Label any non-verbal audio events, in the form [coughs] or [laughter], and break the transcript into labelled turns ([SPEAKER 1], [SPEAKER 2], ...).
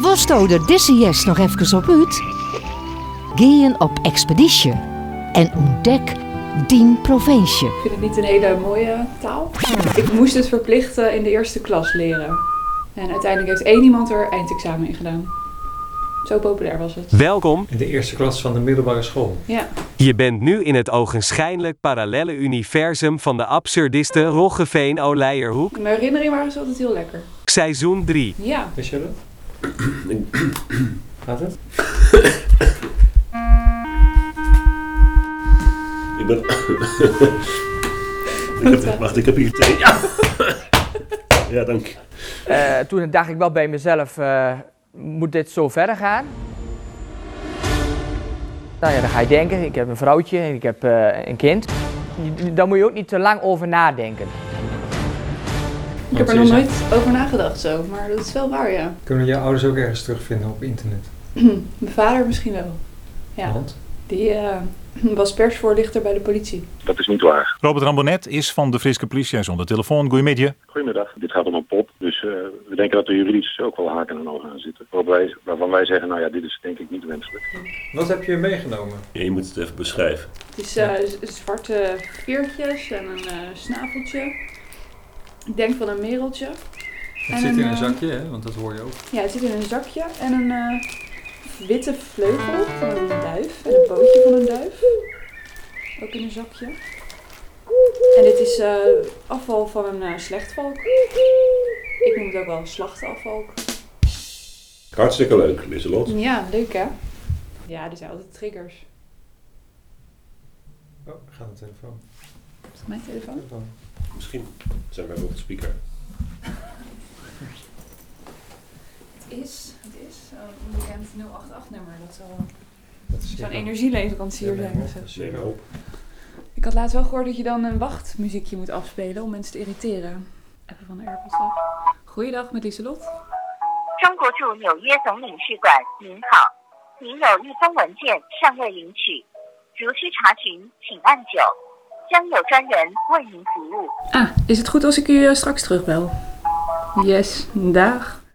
[SPEAKER 1] Worstouder Dissies nog even op uit? Gaan op expeditie en ontdek dien provincie.
[SPEAKER 2] Ik vind het niet een hele mooie taal. Ik moest het verplicht eh, in de eerste klas leren. En uiteindelijk heeft één iemand er eindexamen in gedaan. Zo populair was het.
[SPEAKER 3] Welkom,
[SPEAKER 4] In de eerste klas van de middelbare school.
[SPEAKER 2] Ja,
[SPEAKER 3] je bent nu in het ogenschijnlijk parallele universum van de absurdiste Roggeveen Oleierhoek,
[SPEAKER 2] mijn herinnering waren ze altijd heel lekker.
[SPEAKER 3] seizoen 3.
[SPEAKER 2] Ja,
[SPEAKER 4] Wist [coughs] je dat? Gaat het?
[SPEAKER 5] Ik ben... [laughs] ik heb, wacht, ik heb hier thee. Ja, ja dank je.
[SPEAKER 6] Eh, toen dacht ik wel bij mezelf, eh, moet dit zo verder gaan? Nou ja, dan ga je denken, ik heb een vrouwtje en ik heb eh, een kind. Je- Daar moet je ook niet te lang over nadenken.
[SPEAKER 2] ik heb er nog nooit over nagedacht zo, maar dat is wel waar ja.
[SPEAKER 4] Kunnen jouw ouders ook ergens terugvinden op internet?
[SPEAKER 2] Mijn vader misschien wel. Ja,
[SPEAKER 4] Want?
[SPEAKER 2] die eh, [laughs] was persvoorlichter bij de politie.
[SPEAKER 7] Dat is niet waar.
[SPEAKER 8] Robert Rambonet is van de Friese politie. Hij is onder telefoon. Goedemiddag.
[SPEAKER 7] Goedemiddag, dit gaat om een pop. Dus eh, we denken dat er juridisch ook wel haken en ogen aan zitten. Waarop wij- waarvan wij zeggen, nou ja, dit is denk ik niet wenselijk.
[SPEAKER 4] Wat heb je meegenomen?
[SPEAKER 5] Ja, je moet het even beschrijven.
[SPEAKER 2] Het is eh, z- zwarte veertjes en een eh, snaveltje. Ik denk van een mereltje.
[SPEAKER 4] Het
[SPEAKER 2] En
[SPEAKER 4] zit in
[SPEAKER 2] een,
[SPEAKER 4] een
[SPEAKER 2] eh,
[SPEAKER 4] zakje, hè? Want dat hoor je ook.
[SPEAKER 2] Ja, het zit in een zakje en een eh, witte vleugel van een duif. En een pootje van een duif. Ook in een zakje. En dit is eh, afval van een eh, slechtvalk. Ik noem het ook wel slachtafvalk.
[SPEAKER 5] Hartstikke leuk, Lieselot.
[SPEAKER 2] Ja, leuk hè? Ja, er zijn altijd triggers.
[SPEAKER 4] Oh, gaat de telefoon.
[SPEAKER 2] Is dat mijn telefoon?
[SPEAKER 4] telefoon.
[SPEAKER 5] Misschien zijn wij ook de speaker.
[SPEAKER 2] Het is, het is eh, een bekend 088 nummer. Dat zal
[SPEAKER 4] Dat is
[SPEAKER 2] zo'n energieleverancier zijn of zo.
[SPEAKER 5] Neem maar op.
[SPEAKER 2] Ik had laatst wel gehoord dat je dan een wachtmuziekje moet afspelen om mensen te irriteren. Even van de AirPods af. Goeiedag met Lieselot.
[SPEAKER 9] 中国驻纽约总领事馆，您好，您有一封文件尚未领取，如需查询，请按九，将有专人为您服务。
[SPEAKER 2] Ah, is het goed als ik u eh, straks terugbel? Yes, dag.